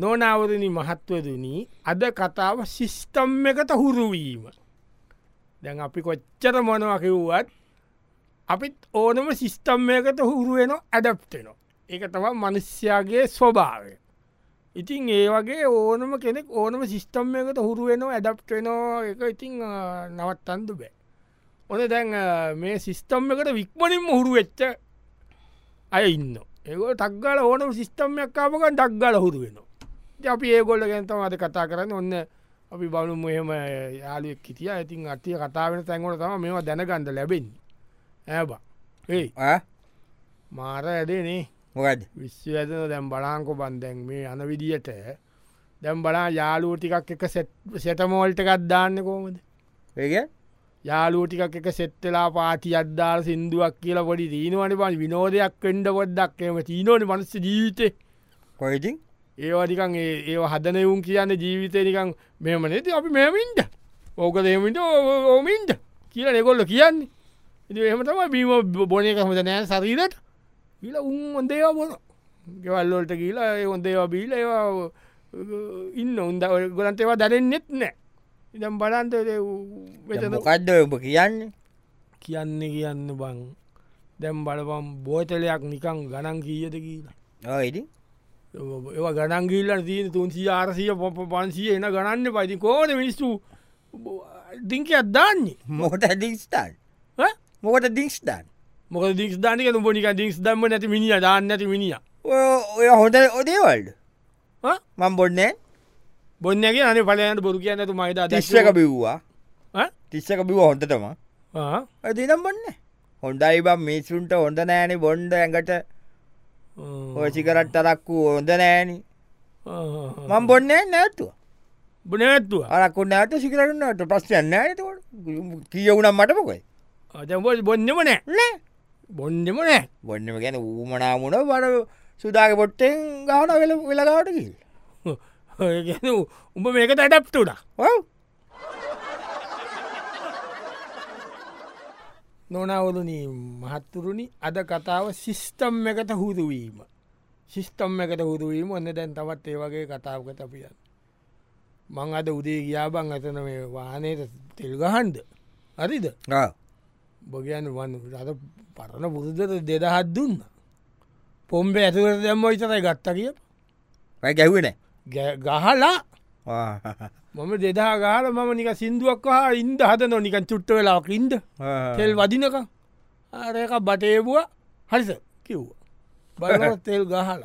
නොනවරණ මහත්වදනී අද කතාව සිිස්ටම් එකට හුරුවීම. දැන් අපි කොච්චර මොනවකිව්වත් අපිත් ඕනම සිිස්ටම් එකට හුරුවෙන ඇඩප්ටෙන. එක තම මනුස්්‍යයාගේ ස්වභාවය. ඉතින් ඒ වගේ ඕනම කෙනෙක් ඕනම සිිස්ටම් එකට හුරුවෙනෝ ඇඩප්ටෙනෝ එක ඉතිං නවත් අන්දු බෑ. ඕන දැන් අ, මේ සිිස්ටම් එකට වික්මනින් හුරු වෙච්ච අය ඉන්න. ඒගොල්ලෝ ටක් ගාලා ඕනම සිිස්ටම් එකක් ආපුගන් ටක් ගාලා හුරු වෙනවා. ඉතින් අපි ඒගොල්ල ගැන තමයි අද කතා කරන්න ඔන්න අපි බලමු එහෙම යාලුවෙක් හිටිය ඉතින් අතිය කතා වෙන තැන්වල තම මේවා දැනගන්ඩ ලැබෙන්නේ ඇබා ඒ මාර ඇදනේ මොකද විශ්ව ඇදන දැම් බලාංකො බන්දැන් මේ අන විදිහට දැම් බලා යාලුව ටිකක් එක සැටමෝල්ට එකත් දාන්න කෝමද ඒක යාලුව ටිකක් එක සෙට්ටලා පාටි අද්දාර සිින්දුවක් කියලා පොඩි දීනවනි පන් විනෝදයක් වෙන්ඩ පොද්දක් එම තිීනෝනි මනස්ස ජීවිතේ කොයිතින් ඒවානිකන් ඒ හදනවුම් කියන්න ජීවිතය නිකං මෙම නති අපි මෙමින්ට ඕක දෙමින්ට ඕමින්ට කියල නෙකොල්ල කියන්නේ ඉති එහම තම බීම බොන එකහමද නෑ සරීරට කියල උන් ඔොන්දේවා බොන ගෙවල්ලොල්ට කියලා ඔොන්දේවා බීල ඒවා අ, ඉන්න උන්ද ගොලන්ට ඒවා දැනෙන්නෙත් නෑ ඉදම් බලන්ට වෙතන මොකක්ද ඔබ කියන්නේ කියන්න කියන්න බං දැම් බලපම් බෝතලයක් නිකං ගණන් කීයද කියලා ඕයිති ඒව ගණන්ගිල්ල දීන තුන්සිය ආරසිය පොප පන්සිය එන ගණන්න පයිති කෝන මිනිස්සු දිංක අදදාන්නේ මොකට දිිස්ටාන් මොකට දිිස්ටාන් මොක දික් ධානක පොනික දිික්ස් දම්ම නැති මිනිිය දාන්න නැති මිනිිය ඔය හොඳ ඔදේවල්ඩ මං බොන්නේ බොන්නගේ අන පලයන බොරු කියන්න ඇතු මයිත තිශ්ක බිව්වා තිස්සක බිව හොඳතම ඇතිනම් බොන්න හොන්ඩයි බම් මිසුන්ට හොඳ නෑනේ බොන්්ඩ ඇඟට ඕසිකරට තරක්කු හොඳ නෑනි මං බොන්න නැත්තුව බනැත්තුව අරක්කුන්න ඇත සිකරන්නට ප්‍රශ්යන්න ඇතකොට කියවුනම් මටමකොයි අතබොල් බොන්නම නෑ නෑ බොන්නම නෑ බොන්නම ගැන ඌමනාමුණ බර සුදාග පොට්ටෙන් ගාන වෙල වෙලගාවට කිල් ඔය කියන උඹ මේක තැටප්ටුඩා නොනවරුණ මහත්තුරුණි අද කතාව සිිස්ටම් එකට හුරුවීම සිිස්ටම් එකට හුරුවීම ඔන්න දැන් තවත් ඒ වගේ කතාවකට අපියන් මං අද උදේ ගියාබං අතන මේ වානයට තෙල්ගහන්ඩ හරිද බොගයන් වන් රද පරණ පුරුදට දෙදහත් දුන්න පොම්බ ඇතුකට දැම්ම විතරයි ගත්ත කිය රයි ගැවන ගැ- ගහලා මම දෙදා ගාල මම නික සිින්දුවක් හා ඉන්ද හද නොනිකන් චුට්ට වෙලාක් ඉන්ද තෙල් වදිනක ආරයක බටේබුව හරිස කිව්ව බලනකොට තෙල් ගහලා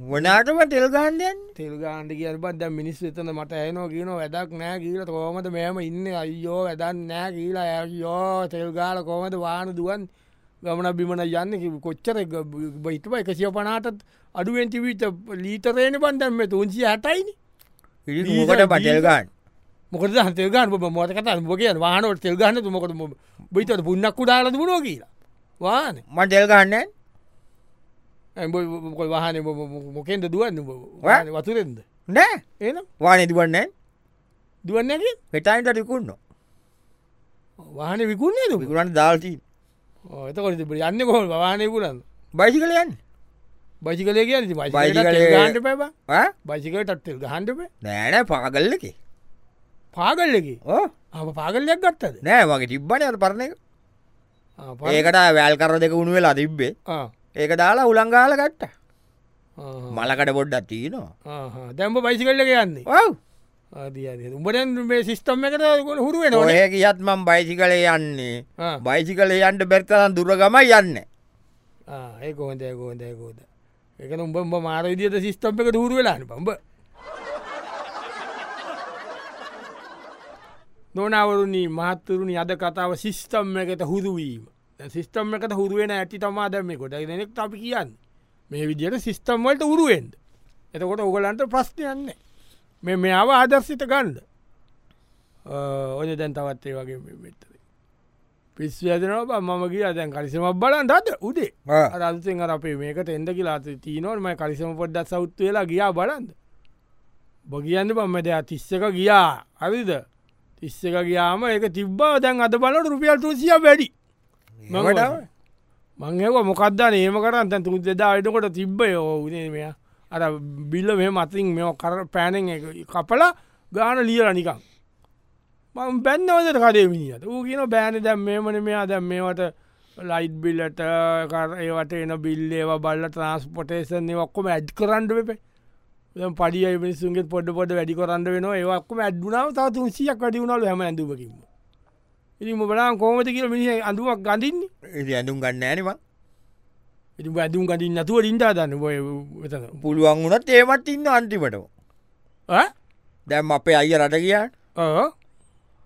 වනාටම තෙල් ගාන්ඩයන් තෙල් ගාන්ඩ කිය බද මිනිස් එතන මට ඇනෝ කියන වැඩක් නෑ කියීලට කෝමට මෙම ඉන්න අයෝ වැදන් නෑ කියලා ඇයෝ තෙල් ගාල කෝමට වාන දුවන් ගමන බිමන යන්න කිව්ව. කොච්චර බහිතම එකසිය පනාටත් අඩුවෙන්ටිවිච ලීතරේන පන්දැම්ම තුන්සි ඇටයිනි ඉට පටෙල් ගාන් මොකද තෙල්ගන්න බ මොතකත මොකය වානට තෙල්ගන්න තුමකට බයිතට පුන්නක්කු දාලද වුණෝ කියලා වාන මන් තෙල් ගන්න ඇයි වාහන මොකෙන්ද දුවන්න උඹ? ඈ? වාහනේ වතුරෙන්ද නෑ ඒනම් වාන දුවන්න දුවන්න පෙටයින්ට ටිකුන්න වාහන විකුණේ දු විකුරන් දාල්ති එතකොට තිබට යන්න කොහොල් වාහනය පුලන් බයිසි කලයන් බජි කලය කිය බයිසිකලේ- ගහන්ට පැබ බජිකටත්ල් ගහන්ටප නෑනෑ පාගල්ලකි පාගල්ලකි ඕ අප පාගල්ලයක් ගත්තද නෑ වගේ තිබ්බන අට පරණ එක ආ, පා- ඒකට වැෑල් කර දෙක උුණු වෙලා තිබ්බේ ආ, ඒක දාලා උළංගාල ගට්ට ආ, මලකට පොඩ්ඩක් තියනවා ආ. දැම්ම බයිසිකල්ලක යන්නේ ඔව් ආදී උඹට මේ සිිස්ටම් එකට ගොල හුරුවෙන ඔය කියත් මං බයිසි කලේ යන්නේ ඕන බයිසි කලේ යන්ට බැරිතරන් දුරගම යන්න ඒකෝද ඒකෝද ඒකෝද එක උඹ උඹ මාර විදියට සිිස්ටම් එක දූර වෙලාන්න පම්බ නොනවරුණී මහත්තුරුණි අද කතාව සිිස්ටම් එකට හුරුවීම සිිස්ටම් එකට හුරුවෙන ඇති තමා දැම කොට දෙනෙක් අපි කියන්න මේ විදියට සිිස්ටම් වලට උරුවෙන්ද එතකොට ඔගලන්ට ප්‍රශ්නයන්න මෙ මොව ආදර්ශිත ගන්ද ඔය දැන් තවත්තේ වගේ මෙතර පිස්වදනවා මම කිය දැන් කලිසමක් බලන් දත උදේ අරන්සිංහ අපේ මේකට එන්ඩ කියලා තිීනොටම කලිසම පොඩ්ඩත් සෞත් වෙලා ගියා බලන්ද බොගියන්න පම්ම දෙයා තිස්සක ගියා හරිද තිස්සක ගියාම එක තිබ්බා දැන් අද බලට රුපියල් තුසිය වැඩි මට මංහක මොකක්ද නේම කරන්න තුන් දෙදා අයටකොට තිබ්බය ඕනේ මෙයා අර බිල්ල මේ මතින් මෙ කර පෑනෙන් එක කපල ගාන ලියල නිකම් මං බැන්නවදට කඩේමිනිියට ඌ කියන බෑන දැම් මේමන මෙයා දැම් මේවට ලයිට් බිල්ලට කර ඒවට එන බිල්ලේවා බල්ල ට්‍රන්ස්පොටේසන් ඔක්කොම ඇඩ් කරන්ඩ වෙපේ පඩිය පිසුන්ගේ පොඩ පොඩ වැඩි කරන්න වෙන ඒක්ම ඇඩ්ුනාව තාතුන් සියක් වැඩි වුණලු හැම ඇඳුවකිම ඉරිම බලා කෝමත කියල මිනි අඳුවක් ගඳින්නේ ඉති ඇඳුම් ගන්න ඇනවා ඉති ඇඳුම් ගඩින් නැතුව ලින්ටා දන්න බොය වෙතන පුළුවන් වුණත් ඒමත් ඉන්න අන්තිමට දැම් අපේ අය රට කියා Uh?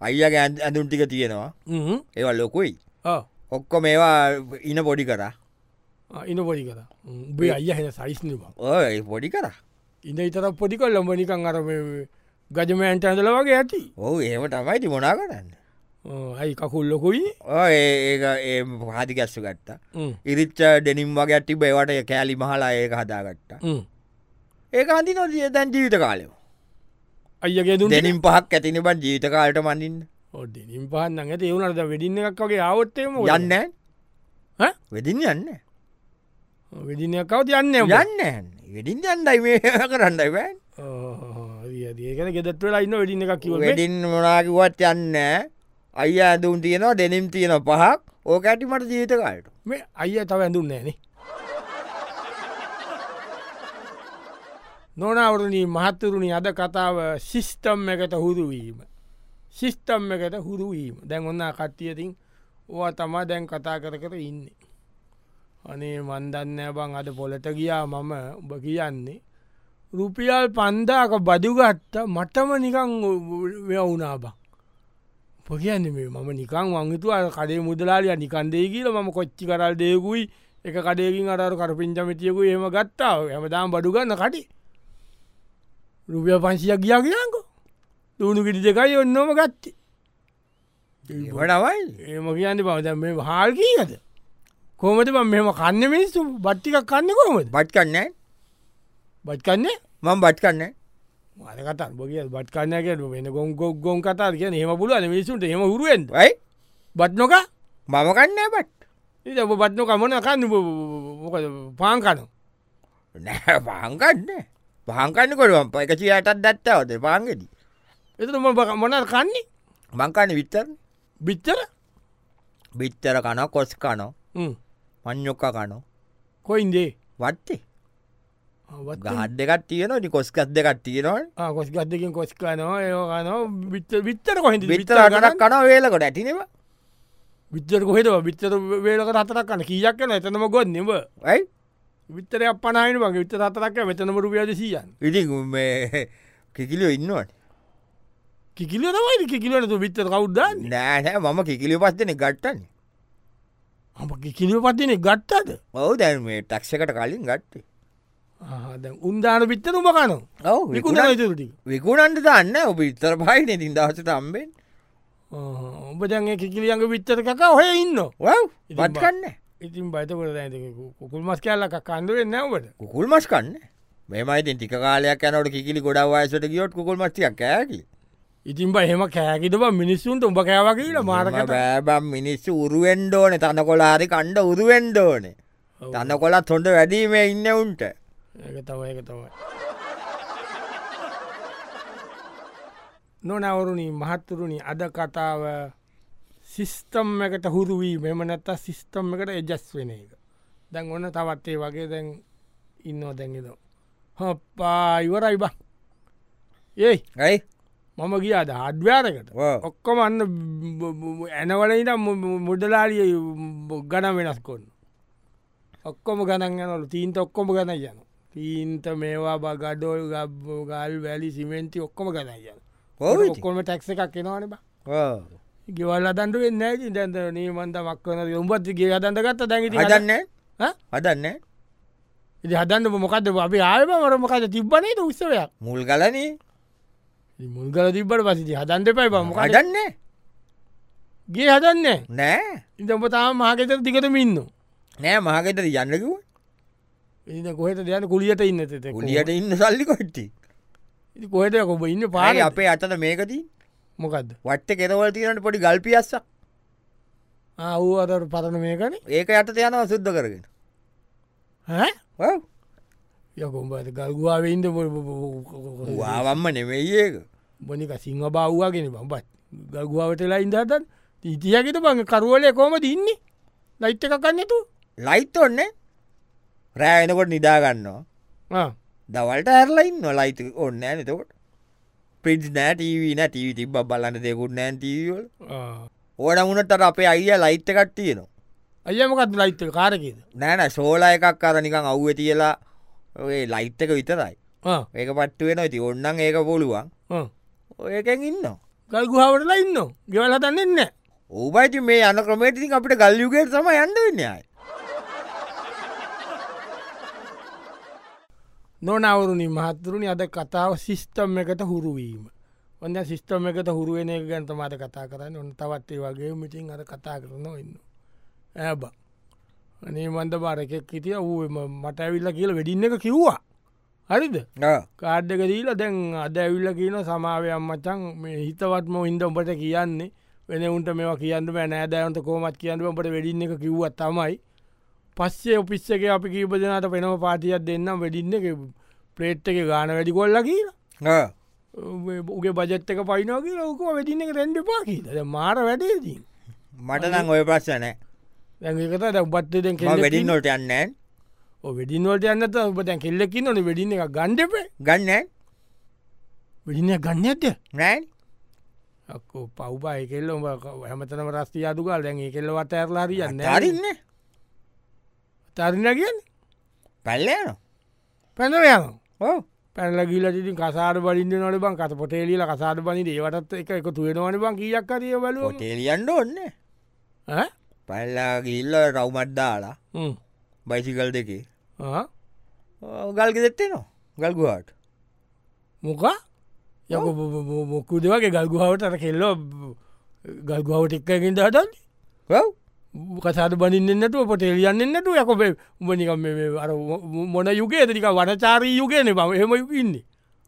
අයිය ඇඳුම් ටික තියෙනවා Mm-hmm. ඒවල් ලොකුයි Uh? ඔක්කො මේවා ඉන පොඩි කරා ඉන පොඩි කර බේ අය හෙන සයිස්නවා ඔය පොඩි කරා ඉඳ ඉතර පොඩිකල් ලොඹනිකං අර ගජමයන්ට ඇඳල වගේ ඇති ඔහු ඒම තමයිති මොනා කරන්න ඇයි කකුල් ලොකුයි ඔය ඒ ඒ හදි ගැස්සු ගත්තා Mm. ඉරිච්ච ඩෙනිම් වගේ ඇටි බේවට කෑලි මහලා ඒක හදාගත්තා Mm. ඒක හඳි නොදිය දැන් ජීවිත කාලයෝ අයගේ දු දෙනින් පහක් ඇතින බන් ජීවිත කාලට මඳින් ඔඩින් පහන්න ඇත ඒවුනට වෙඩින්න එකක් වගේ ආවත්තේම යන්න වෙදින් යන්න Uh, වෙදිනකවත් යන්න යන්න වෙඩින් යන්නයි මේ කරන්න බෑන් Uh, ඒකන ගෙදත්වලා ඉන්න වෙඩින්න එකක් කිව වෙඩින් මොනාකිවත් යන්න අයි ඇඳුම් තියෙනවා දෙනම් තියෙන පහක් ඕක ඇටිමට ජීවිතකාලට මේ අයිය තව ඇඳුම් නෑනේ නොනවරණී මහත්තුරුණි අද කතාව සිිස්ටම් එකට හුරුවීම සිිස්ටම් එකට හුරුවීම දැන් ඔන්න කට්ටියතින් ඕ තමා දැන් කතා කර කර ඉන්නේ අනේ මන්දන්න බං අද පොලට ගියා මම උඹ කියන්නේ රුපියල් පන්දාක බදුගත්ත මටම නිකං වුණාබං පොගන්නේ මේ මම නිකං වංගතු අර කඩේ මුදලාලිය නිකන්දේ කියල ම කොච්චි කරල් දෙයකුයි එක කඩේකින් අර කරපින්චමිතියකු ඒම ගත්තාව ඇමදාම් බඩුගන්න කටි රුපිය පංසියක් ගියා කියකෝ දුණු කිටි දෙකයි ඔන්නොම ගත්ති වඩවයි ඒම කියන්න පවත මේ හාල්කීද කෝමට බ මෙම කන්න මිනිස්සු බට්ටිකක් කන්න කොමද බට් කන්න බට් කන්නේ මං බට් කන්න මනකත බොගිය බට් කන්නය කියට වෙන ගොන් ගොක් ගොන් කතාර කිය හෙම පුලුවන මිනිසුන්ට හෙම හුරුවෙන් යි බට්නොක මම කන්න බට් ඉ ඔබ බට්නො කමන කන්න මොකද පාන් කන නෑ පාංකන්න පහංකන්න කොළුවම් ප එකසි අටත් දත්තවද පාංගෙද එතම මොනල් කන්නේ මංකන්න විත්තර බිච්චර බිත්තර කන කොස් කනෝ මං්යොක්ක කනෝ කොයින්දේ වත්තේ ගහත් දෙකත් තියෙනනි කොස්කත් දෙකත් තියෙනවා කොස් ගත්දකින් කොස්කනවා ඒකන බිච්ච විත්තර කොහෙද විතර කනක් කන වේලකට ඇතිනවා විච්චර කොහෙද විච්චර වේලක රතරක් කන්න කියක් කන එතනම ගොත් නෙව යි විතර අපනයින වගේ විත රතරක් මෙතනම රුපියද සීයන් ඉඩි කිකිලියෝ ඉන්නවට කිකිල තමයි කිකිලනතු විත්තර කවුද්දන්න නෑනෑ මම කිකිලිය පස්සන ගට්ටන්න අප කිකිලිය පත්තිනෙ ගත්තාද ඔවු දැන් මේ ටක්ෂකට කලින් ගට්ටේ උන්දාන පිත්තර උමකන ඔව විකුණතුරටි විකුණන්ට දන්න ඔබ ඉතර පයින ඉතින් දහසට අම්බෙන් ඔබ දැන් කිකිලියන්ග විත්තර කකා ඔහය ඉන්න ඉතින් වත් බ- කන්න ඉතින් බයිතකොට ඇ කුකුල් මස් කැල්ලක් කන්දුවෙන් නැවට කුකුල් මස් කන්න මෙමයිති ටික කාලයක් යනට කිකිලි ගොඩක් වයසට ගියොත් කුල් මස්තියක් කෑකි ඉතින් බහෙම කෑකිට බ මිනිස්සුන්ට උඹ කෑවකිට මාරකට බෑබම් මිනිස්සු උරුවෙන්ඩෝන තන කොලාරි කණ්ඩ උරුවෙන්ඩෝන ඔව්. තන්න කොලත් හොඳ වැඩීම ඉන්න උන්ට ඒක තව එක තමයි නොනවරුණි මහත්තුරුණි අද කතාව සිිස්ටම් එකට හුරුවී මෙම නැත්ත සිිස්ටම් එකට එජස් වෙන එක දැන් ඔන්න තවත්තේ වගේ දැන් ඉන්නෝ දැන්ගෙද හොප්පා ඉවරයි බං ඒයි ඇයි මම ගියාද හඩ්‍යාරකට ඔව්. ඔක්කොම අන්න ඇනවලට මුදලාලිය ගණ වෙනස් කොන්න ඔක්කොම ගණන් යනලු තීන්ත ඔක්කොම ගණ යන තීන්ත මේවා බගඩෝල් ගබ්බෝ ගල් වැලි සිමෙන්ති ඔක්කොම ගණ යන ඔව් ඉතින්. ඔක්කොම ටැක්ස එකක් එනවාන බා ඔව්. ගෙවල් අදන්ට වෙන්න දැන්ත නීමන්ද මක්වන උඹත්ගේ අදන්ට ගත්ත දැඟට හදන්න හදන්න ඉදි හදන්න මොකද අපි ආයම මරමකද තිබ්බනේ උත්සවයක් මුල් ගලන ඉතින් මුල්ගල තිබ්බට පසිති හදන්ට පයි බමකද හදන්න ගේ හදන්නේ නෑ ඉඳඹ තාම මාකෙත දිකටම ඉන්න නෑ මහගෙතර යන්නකිව ඉන්න කොහෙට දයන කුලියට ඉන්න තෙත ගුලියට ඉන්න සල්ලි කොට්ටි කොහෙට කොබ ඉන්න පාර පාරි අපේ අතට මේකදී මොකක්ද වට්ට කෙරවල තියෙනට පොඩි ගල්පියස්ස ආවූ අතට පරණ මේකන ඒක අට යනවා සුද්ධ කරගෙන හ ඔව්. යකොම්බට ගල්ගවාවෙන්ද වාවම්ම නෙවෙයිඒක බොනික සිංහ බව්වාගෙන බම්බත් ගල්ගුවාවටලා ඉඳහතන් ඉතියගෙත බඟ කරුවලය කෝම දන්නේ ලයිට්ට එකකන්නතු ලයිත් ඔන්න රෑනකොට නිදාගන්නවා දවල්ට ඇරලයින් නොලයිත ඔන්න නතකොට පිස් නෑටීවන ටීවි තිබ බලන්න දෙකුට නෑන්ටීවල් ඕන මුණටට අපේ අයිිය ලයිට්ට කට්ටියනවා අයමකත් ලයිත්ත කාරකද නෑන සෝලා එකක් අර නිකං අව්ව තියලා ඔය ලයිට්ටක විතරයි ඒක පට්ටුව වෙන ඇති ඔන්නන් ඒක පොළුවන් ඔයකැන් ඉන්න ගල්ගුහාවටලා ඉන්න ගෙවල තන්නෙන්න ඕබයිති මේ යන ක්‍රමේටතින් අපිට ගල්ලියුගේට සම යන්න වෙන්නයි නොනවරුණි මහත්තුරුණි අද කතාව සිිස්ටම් එකට හුරුවීම ඔන්න සිිස්ටම් එකට හුරුවෙන එක ගැන්ත මට කතා කරන්න ඔන්න තවත්තේ වගේ මිටින් අද කතා කරන ඉන්න ඇබ අනේ මන්ද බාරකෙක් හිටිය ඌ මට ඇවිල්ල කියල වැඩින්න එක කිව්වා හරිද කාඩ්ඩක දීල දැන් අද ඇවිල්ල කියන සමාවයම් මචන් මේ හිතවත්ම ඉන්ද උඹට කියන්නේ වෙන උන්ට මේ කියන්න නෑදෑන්ට කෝමත් කියන්න උඹට වැඩින්න එක කිව්වත් තමයි පස්සේ ඔපිස්ස එක අපි කීපදනට පෙනව පාටියත් දෙන්නම් වැඩින්න එක ප්‍රේට් එක ගාන වැඩි කොල්ල කියලා උගේ බජත්තක පයිනෝ කියල ඕකම වැඩින්න එක රැන්ඩ පා කියීත මාර වැඩේදී මටනම් ඔය ප්‍රශ්නෑ දැකට දැබත්ත වැඩින්නොට යන්න වැඩින්වලට යන්නත ඔබතැන් කෙල්ලෙකින් නොන වැඩින්න එක ගණ්ඩපේ ගන්න වැඩින්න ගන්න ඇත නෑ අක්කෝ පව්බයි කෙල්ල උඹ හැමතනම රස්ති අදුකාල් දැන් ඒ කෙල්ලවට ඇරලාර යන්න හරින්න තරන්න කියන්න පැල්ලයන පැනවයන ඕ පැල ගිලට කසාර බලින්ද නොට බං කත පොටේලියල කසාට පනි ඒවටත් එක එක තුවෙනවන බං කියක්කරිය බල ටේලියන්ඩ ඔන්න පැල්ලා ගිල්ල රව්මට්දාලා බයිසිකල් දෙකේ ගල්ගෙ දෙත්තේ නො ගල්ගුවාට මොකා යක මොක්කුද වගේ ගල්ගුහාවට අර කෙල්ලෝ ගල්ගුහාවට එක්කකින්ට හටන්න වව් කසාට බනින්නන්නතුව පොටේලියන්නන්නතු යකොපේ උඹනිකම් අර මොන යුගේ ඇතික වනචාරී යුගයන බව එහෙම යුකින්නේ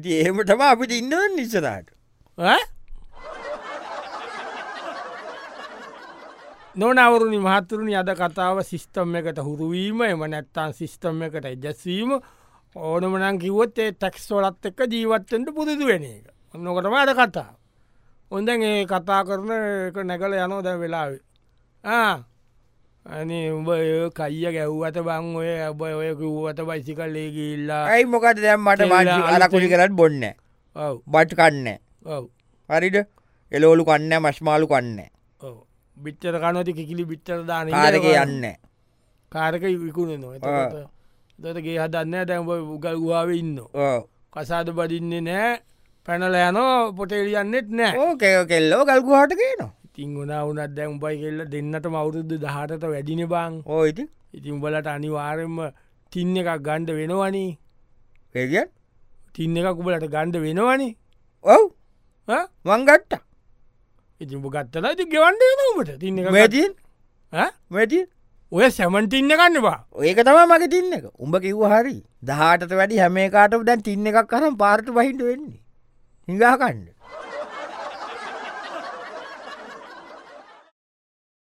ඉති එහෙමටම අපිට ඉන්නවන් නිසරට නොනවරුණි මහත්තුරුණි අද කතාව සිිස්ටම් එකට හුරුවීම එම නැත්තන් සිිස්ටම් එකට එජැස්වීම ඕනමනං කිවොත් ඒ ටැක්ස්වලත් එක්ක ජීවත්තෙන්ට පුරුදු වෙන එක ඔන්නොකටම අද කතා ඔොඳන් ඒ කතා කරන එක නැකල යනෝ දැ වෙලාවේ අනේ උඹ ඒ කයිය ගැව්වත බං ඔය ඔබ ඔය කිව්වත බයිසි කල්ලේ ගිල්ලා ඇයි මොකට දැම් මට කෙල්ලා මාශි අලකුලි කරට බොන්න ඔව් බට් කන්න ඔව් හරිට එලෝලු කන්න මශ්මාලු කන්න ඔව් බිච්චර කනොති කිකිලි බිච්චර දාන කාරක යන්න කාරක විකුණ නො දතගේ හදන්න දැම් උගල් ගුවාව ඉන්න කසාද බදින්නේ නෑ පැනල යනෝ පොටේලියන්නෙත් නෑ ඕක කෙල්ලෝ ගල්ගුහට කියන ඉතිං ගුණා වනත් දැම් උබයි කෙල්ල දෙන්නට මවුරුද්ධ දහටත වැඩින බං ඕයිති ඉතින් උඹලට අනිවාරෙන්ම තින්න එකක් ගණ්ඩ වෙනවනි ඒගිය තින්න එකක් උබලට ගණ්ඩ වෙනවනි ඔව් වංගට්ට ඉතින් උඹ ගත්තලා ඇති ගෙවන්ඩ නොකට තින්න එක ගත්- වැතින් ඈ? වැටි ඔය සැමන්ටින්න ගන්නවා ඒක තම මගේ තින්න එක උඹ කිව්ව හරි දහටත වැඩි හැමේකාට දැන් තින්න එකක් කරම් පාර්ට බහිට වෙන්නේ හිඟාකණ්ඩ